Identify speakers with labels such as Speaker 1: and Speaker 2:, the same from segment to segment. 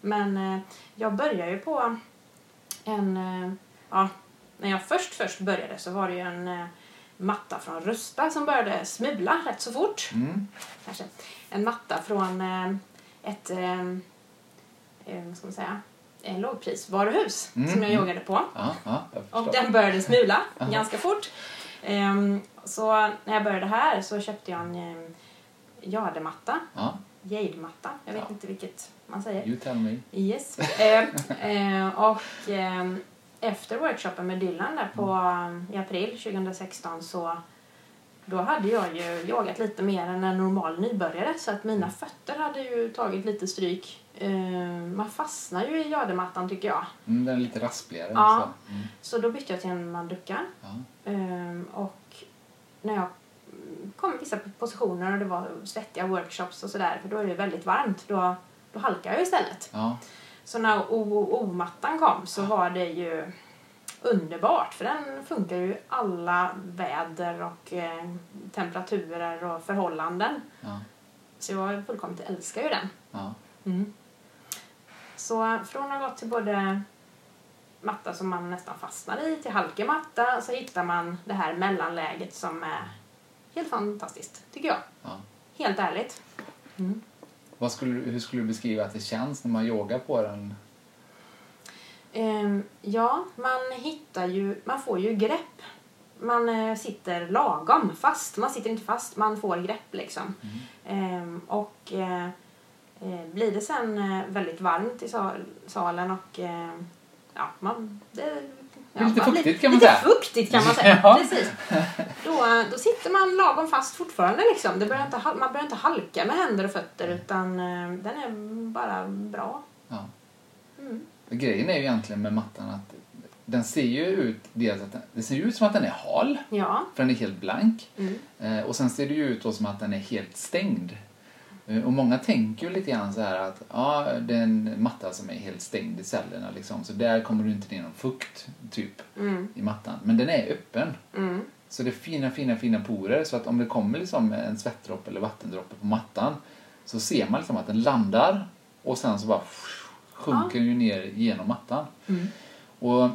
Speaker 1: Men eh, jag började ju på en... Eh, ja, när jag först först började så var det ju en eh, matta från Rusta som började smula rätt så fort.
Speaker 2: Mm.
Speaker 1: Kanske. En matta från eh, ett... Eh, eh, vad ska man säga? En lågprisvaruhus
Speaker 2: Mm,
Speaker 1: som jag
Speaker 2: mm.
Speaker 1: yogade på.
Speaker 2: Ja, ja, jag
Speaker 1: Och
Speaker 2: förstår.
Speaker 1: den började smula
Speaker 2: Aha.
Speaker 1: ganska fort. Ehm, så när jag började här så köpte jag en ehm, jadematta,
Speaker 2: Ja,
Speaker 1: jadematta, jag vet
Speaker 2: Ja.
Speaker 1: inte vilket man säger.
Speaker 2: you tell me.
Speaker 1: Yes. Ehm, ehm, och ehm, efter workshopen med Dylan där på, ehm, i april 2016 så då hade jag ju yogat lite mer än en normal nybörjare så att mina fötter hade ju tagit lite stryk. Ehm, man fastnar ju i jademattan tycker jag.
Speaker 2: Mm, den är lite raspligare.
Speaker 1: Ja.
Speaker 2: Så. Mm.
Speaker 1: Så då bytte jag till en manduka.
Speaker 2: Ja.
Speaker 1: Ehm, och när jag mm, kom i vissa positioner och det var svettiga workshops och sådär, för då är det väldigt varmt, då, då halkar jag istället.
Speaker 2: Ja.
Speaker 1: Så när OOO-mattan kom så var det ju underbart, för den funkar ju i alla väder och eh, temperaturer och förhållanden.
Speaker 2: Ja.
Speaker 1: Så jag fullkomligt älskar ju den.
Speaker 2: Ja.
Speaker 1: Så från att ha gått till både matta som man nästan fastnar i till halkig matta så hittar man det här mellanläget som är helt fantastiskt, tycker jag.
Speaker 2: Ja.
Speaker 1: Helt ärligt.
Speaker 2: Vad skulle, du- hur skulle du beskriva att det känns när man yogar på den?
Speaker 1: Ehm, ja, man hittar ju, man får ju grepp. Man eh, sitter lagom fast. Man sitter inte fast, man får grepp liksom.
Speaker 2: Mm.
Speaker 1: Ehm, och eh, eh, blir det sen eh, väldigt varmt i sa- salen och eh, ja, man... Det,
Speaker 2: är lite
Speaker 1: man blir-
Speaker 2: fuktigt kan man
Speaker 1: lite
Speaker 2: säga.
Speaker 1: fuktigt kan man säga,
Speaker 2: Ja.
Speaker 1: precis. Då, då sitter man lagom fast fortfarande liksom. Det börjar inte, hal- man börjar inte halka med händer och fötter utan eh, den är bara bra.
Speaker 2: Ja.
Speaker 1: Mm.
Speaker 2: Grejen är ju egentligen med mattan att den ser ju ut, dels att den, det ser ju ut som att den är hal,
Speaker 1: Ja.
Speaker 2: för den är helt blank.
Speaker 1: Mm.
Speaker 2: Eh, och sen ser det ju ut då som att den är helt stängd. Eh, och många tänker ju lite grann så här att ja, det är en matta som är helt stängd i cellerna liksom, så där kommer du inte ner någon fukt, typ,
Speaker 1: Mm.
Speaker 2: i mattan. Men den är öppen.
Speaker 1: Mm.
Speaker 2: Så det är fina, fina, fina porer. Så att om det kommer liksom en svettdroppe eller vattendroppe på mattan så ser man liksom att den landar och sen så bara sjunker den ju ner genom mattan.
Speaker 1: Mm.
Speaker 2: Och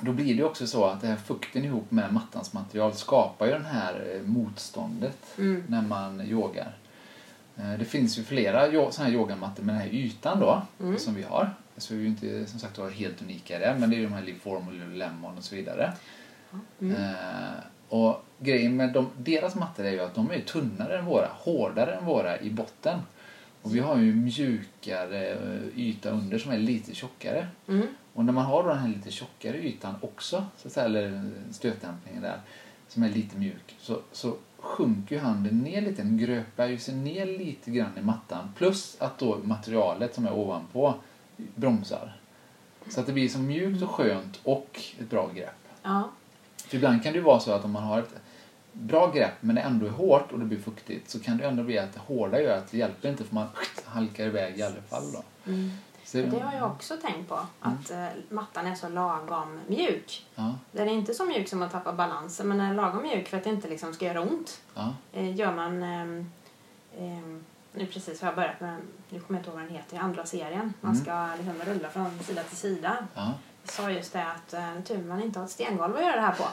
Speaker 2: då blir det också så att det här fukten ihop med mattans material skapar ju det här eh, motståndet
Speaker 1: Mm.
Speaker 2: när man yogar. Eh, Det finns ju flera yo- såna här yogamattor med den här ytan då,
Speaker 1: Mm.
Speaker 2: som vi har. Så vi är ju inte som sagt var helt unika i det, men det är ju de här Liv Formula, Lemon och så vidare.
Speaker 1: Mm.
Speaker 2: Eh, och grejen med de, deras mattor är ju att de är ju tunnare än våra, hårdare än våra i botten. Och vi har ju mjukare eh, yta under som är lite tjockare.
Speaker 1: Mm.
Speaker 2: Och när man har då den här lite tjockare ytan också, så att säga, eller stötdämpningen där, som är lite mjuk, så, så sjunker ju handen ner lite, den gröpar ju sig ner lite grann i mattan. Plus att då materialet som är ovanpå bromsar. Så att det blir så mjukt och skönt och ett bra grepp.
Speaker 1: Ja.
Speaker 2: För ibland kan det ju vara så att om man har ett bra grepp men det ändå är hårt och det blir fuktigt så kan det ändå bli att det hårda gör att det hjälper inte för man halkar iväg i alla fall då.
Speaker 1: Mm.
Speaker 2: Så,
Speaker 1: Det har jag också tänkt på, att eh, mattan är så lagom mjuk.
Speaker 2: Ja,
Speaker 1: Den är inte så mjuk som att tappa balansen, men den är lagom mjuk för att det inte liksom ska göra ont.
Speaker 2: ja,
Speaker 1: Eh, gör man... ehm, ehm, nu precis har jag börjat med, nu kommer jag inte ihåg vad den heter, i andra serien. Man
Speaker 2: Mm.
Speaker 1: ska liksom rulla från sida till sida.
Speaker 2: ja,
Speaker 1: Jag sa just det att eh, tur man inte har ett stengolv att göra det här på.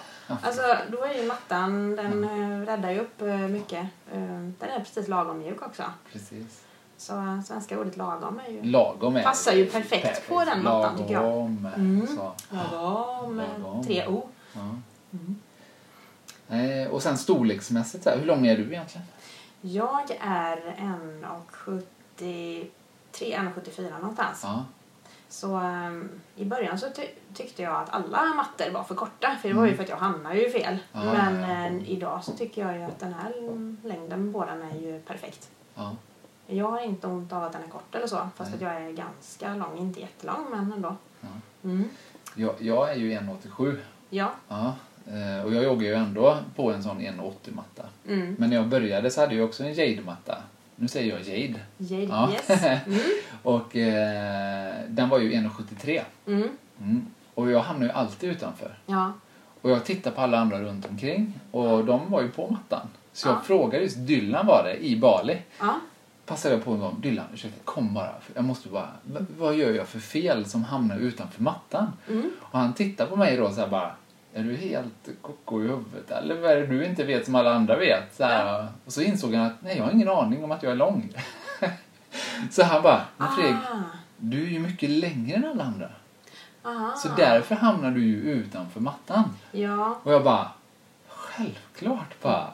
Speaker 1: Alltså, då är ju mattan, den eh, räddar ju upp eh, mycket. Eh, den är precis lagom mjuk också.
Speaker 2: precis.
Speaker 1: Så eh, svenska ordet lagom är ju...
Speaker 2: Lagom är
Speaker 1: Passar ju perfekt på den mattan, tycker jag.
Speaker 2: Lagom,
Speaker 1: Mm.
Speaker 2: så.
Speaker 1: Lagom. eh,
Speaker 2: Lagom.
Speaker 1: Tre O.
Speaker 2: Ja.
Speaker 1: Mm.
Speaker 2: Eh, Och sen storleksmässigt, så här, hur lång är du egentligen?
Speaker 1: Jag är 1,73, 1,74 någonstans.
Speaker 2: Ja,
Speaker 1: Så ehm, i början så ty- tyckte jag att alla mattor var för korta. För det var ju för att jag hamnade ju fel.
Speaker 2: Mm. Ja,
Speaker 1: Men
Speaker 2: ja, ja.
Speaker 1: eh, idag så tycker jag ju att den här längden på den är ju perfekt.
Speaker 2: ja,
Speaker 1: Jag har inte ont av att den är kort eller så. Fast
Speaker 2: Nej.
Speaker 1: att jag är ganska lång. Inte jättelång men ändå.
Speaker 2: ja.
Speaker 1: Mm.
Speaker 2: Jag, jag är ju 1,87
Speaker 1: Ja.
Speaker 2: ja. Eh, och jag joggar ju ändå på en sån 1,80-matta.
Speaker 1: Mm.
Speaker 2: Men när jag började så hade jag också en jade-matta. Nu säger jag jade.
Speaker 1: Jade,
Speaker 2: Ja.
Speaker 1: yes. Mm.
Speaker 2: Och eh, den var ju 1,73.
Speaker 1: Mm.
Speaker 2: Mm. Och jag hamnade ju alltid utanför.
Speaker 1: Ja.
Speaker 2: Och jag tittade på alla andra runt omkring och de var ju på mattan. Så jag
Speaker 1: Ja.
Speaker 2: frågade just Dylan var det i Bali.
Speaker 1: Ja.
Speaker 2: passade jag på honom. Dylan, ursäkta, kom bara. Jag måste bara, "V- vad gör jag för fel som hamnar utanför mattan?
Speaker 1: Mm.
Speaker 2: Och han tittar på mig då så här bara, är du helt koko i huvudet eller vad är det du inte vet som alla andra vet? Så här, Och så insåg han att, nej jag har ingen aning om att jag är lång. så han bara, men Fredrik,
Speaker 1: Ah.
Speaker 2: du är ju mycket längre än alla andra.
Speaker 1: Aha.
Speaker 2: Så därför hamnar du ju utanför mattan.
Speaker 1: Ja,
Speaker 2: Och jag bara, självklart bara,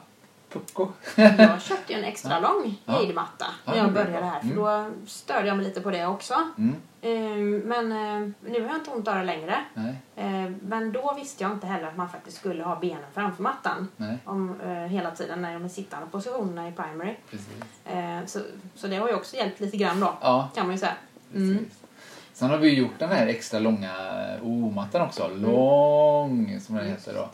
Speaker 2: pucko.
Speaker 1: jag köpte ju en extra lång
Speaker 2: Ja.
Speaker 1: hejdmatta
Speaker 2: Ja,
Speaker 1: när
Speaker 2: det Mm.
Speaker 1: jag
Speaker 2: är bra.
Speaker 1: började här. För då störde jag mig lite på det också.
Speaker 2: mm,
Speaker 1: Ehm, Men eh, nu har jag inte ont av det längre.
Speaker 2: nej,
Speaker 1: Ehm, Men då visste jag inte heller att man faktiskt skulle ha benen framför mattan.
Speaker 2: nej,
Speaker 1: Om, eh, hela tiden när de är sittande positionerna i primary.
Speaker 2: precis.
Speaker 1: Ehm, Så, så det har ju också hjälpt lite grann då.
Speaker 2: Ja,
Speaker 1: Kan man ju säga.
Speaker 2: precis.
Speaker 1: Mm.
Speaker 2: Sen har vi ju gjort den här extra långa eh, O-mattan också.
Speaker 1: Mm.
Speaker 2: Lång, som den heter då.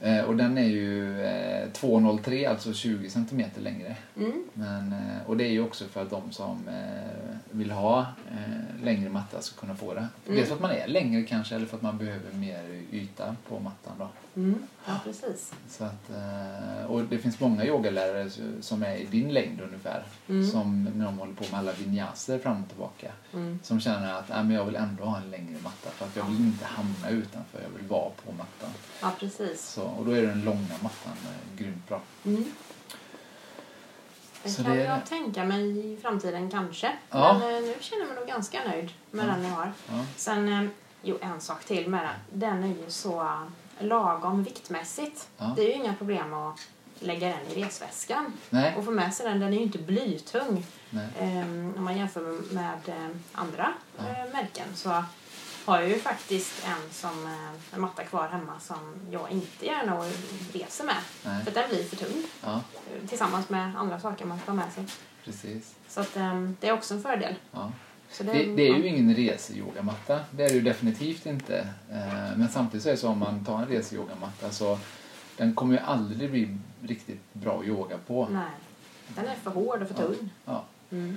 Speaker 2: Eh, och den är ju eh, 2,03, alltså 20 centimeter längre.
Speaker 1: Mm.
Speaker 2: Men, eh, och det är ju också för att de som eh, vill ha eh, längre matta ska kunna få det.
Speaker 1: Mm.
Speaker 2: Dels för att man är längre kanske, eller för att man behöver mer yta på mattan då.
Speaker 1: Mm. Ja, precis.
Speaker 2: Så att, eh, och det finns många yogalärare som är i din längd ungefär.
Speaker 1: Mm.
Speaker 2: Som när de håller på med alla vinyaser fram och tillbaka.
Speaker 1: Mm.
Speaker 2: Som känner att "Nej, men jag vill ändå ha en längre matta för att jag vill inte hamna utanför, jag vill vara på mattan.
Speaker 1: Ja, precis.
Speaker 2: Så, och då är den långa mattan eh, grymt bra.
Speaker 1: Mm.
Speaker 2: Så
Speaker 1: Det kan
Speaker 2: det är
Speaker 1: jag
Speaker 2: det.
Speaker 1: tänka mig i framtiden kanske.
Speaker 2: Ja. Mm.
Speaker 1: Men eh, nu känner jag mig nog ganska nöjd med
Speaker 2: Ja.
Speaker 1: den jag har.
Speaker 2: Ja,
Speaker 1: Sen, eh, jo en sak till med den. Den är ju så eh, lagom viktmässigt.
Speaker 2: Ja.
Speaker 1: Det är ju inga problem att lägga den i resväskan.
Speaker 2: nej,
Speaker 1: Och få med sig den, den är ju inte blytung.
Speaker 2: nej.
Speaker 1: Ehm, om man jämför med eh, andra eh, märken så har jag ju faktiskt en, som, eh, en matta kvar hemma som jag inte gärna reser med.
Speaker 2: nej.
Speaker 1: För att den blir för tung
Speaker 2: Ja,
Speaker 1: eh, tillsammans med andra saker man ska ha med sig.
Speaker 2: precis.
Speaker 1: Så att, ehm, det är också en fördel.
Speaker 2: Ja.
Speaker 1: Så
Speaker 2: Det, det är ju ingen reseyogamatta. Det är det ju definitivt inte. Eh, Men samtidigt så är det så om man tar en reseyogamatta så den kommer ju aldrig bli riktigt bra att yoga på.
Speaker 1: Nej, den är för hård och för tunn.
Speaker 2: Ja.
Speaker 1: Mm.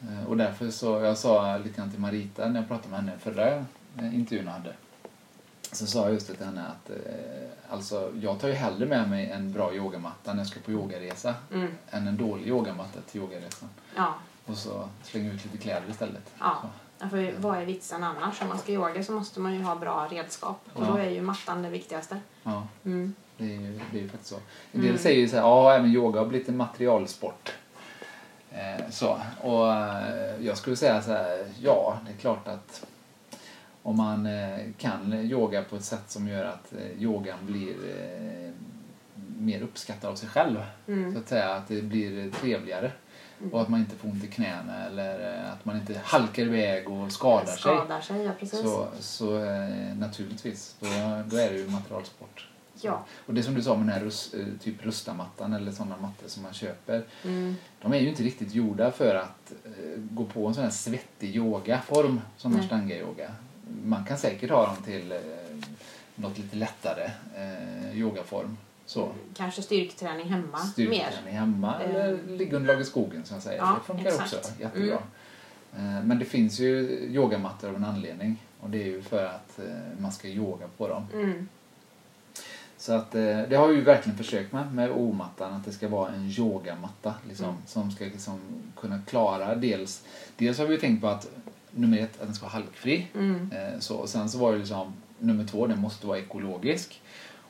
Speaker 2: Eh, Och därför så, jag sa lite grann till Marita när jag pratade med henne förra eh, intervjun jag hade. Så sa jag just det till henne att eh, alltså, jag tar ju hellre med mig en bra yogamatta när jag ska på yogaresa
Speaker 1: Mm.
Speaker 2: än en dålig yogamatta till yogaresan.
Speaker 1: Ja,
Speaker 2: Och så slänga ut lite kläder istället.
Speaker 1: ja. Ja, För vad är vitsen annars? Om man ska yoga så måste man ju ha bra redskap. Och
Speaker 2: Ja.
Speaker 1: då är ju mattan det viktigaste.
Speaker 2: Ja,
Speaker 1: Mm.
Speaker 2: det är ju, det är ju faktiskt så. En del säger ju så här, ja även yoga har blivit en materialsport. Eh, så. Och eh, jag skulle säga så här, ja det är klart att om man eh, kan yoga på ett sätt som gör att eh, yogan blir eh, mer uppskattad av sig själv.
Speaker 1: Mm.
Speaker 2: Så att säga att det blir trevligare. Och att man inte får ont i knäna eller eh, att man inte halkar iväg och skadar sig.
Speaker 1: Skadar sig, ja precis.
Speaker 2: Så, så eh, naturligtvis, då, då är det ju materialsport.
Speaker 1: Ja.
Speaker 2: Och det som du sa med den här rus, eh, typ rustamattan eller sådana mattor som man köper.
Speaker 1: Mm.
Speaker 2: De är ju inte riktigt gjorda för att eh, gå på en sån här svettig yogaform som
Speaker 1: Nej.
Speaker 2: ashtanga-yoga. Man kan säkert ha dem till eh, något lite lättare eh, yogaform. Så.
Speaker 1: Kanske styrketräning hemma mer.
Speaker 2: Styrketräning hemma
Speaker 1: Eh.
Speaker 2: eller liggunderlag i skogen som jag säger.
Speaker 1: Ja,
Speaker 2: det funkar
Speaker 1: exakt. Mm.
Speaker 2: också jättebra. Eh, Men det finns ju yogamattor av en anledning och det är ju för att eh, man ska yoga på dem.
Speaker 1: Mm.
Speaker 2: Så att eh, det har vi ju verkligen försökt med, med O-mattan, att det ska vara en yogamatta liksom,
Speaker 1: Mm.
Speaker 2: som ska liksom kunna klara dels, dels har vi ju tänkt på att nummer ett, att den ska vara halkfri.
Speaker 1: Mm.
Speaker 2: Eh, Så, och sen så var det liksom nummer två, den måste vara ekologisk.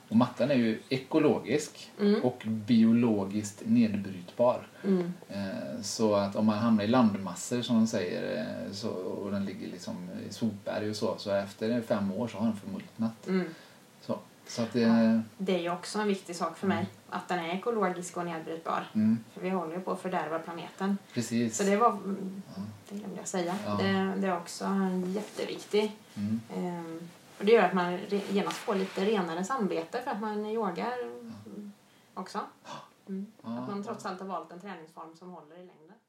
Speaker 2: Och mattan är ju ekologisk
Speaker 1: Mm.
Speaker 2: och biologiskt nedbrytbar.
Speaker 1: Mm.
Speaker 2: Eh, Så att om man hamnar i landmassor som de säger eh, så, och den ligger liksom i sopberg och så, så efter fem år så har den förmultnat.
Speaker 1: Mm.
Speaker 2: Så, så att det...
Speaker 1: Det är ju också en viktig sak för mig. Att den är ekologisk och nedbrytbar.
Speaker 2: Mm,
Speaker 1: För vi håller ju på att fördärva planeten.
Speaker 2: precis.
Speaker 1: Så det var, det glömde jag säga,
Speaker 2: Mm. Ja.
Speaker 1: det, det är också en jätteviktig.
Speaker 2: Mm,
Speaker 1: ehm, och det gör att man re, genast får lite renare samvete för att man yogar mm, också. Mm.
Speaker 2: ja. 아.
Speaker 1: Att man trots allt har valt en träningsform som håller i längden.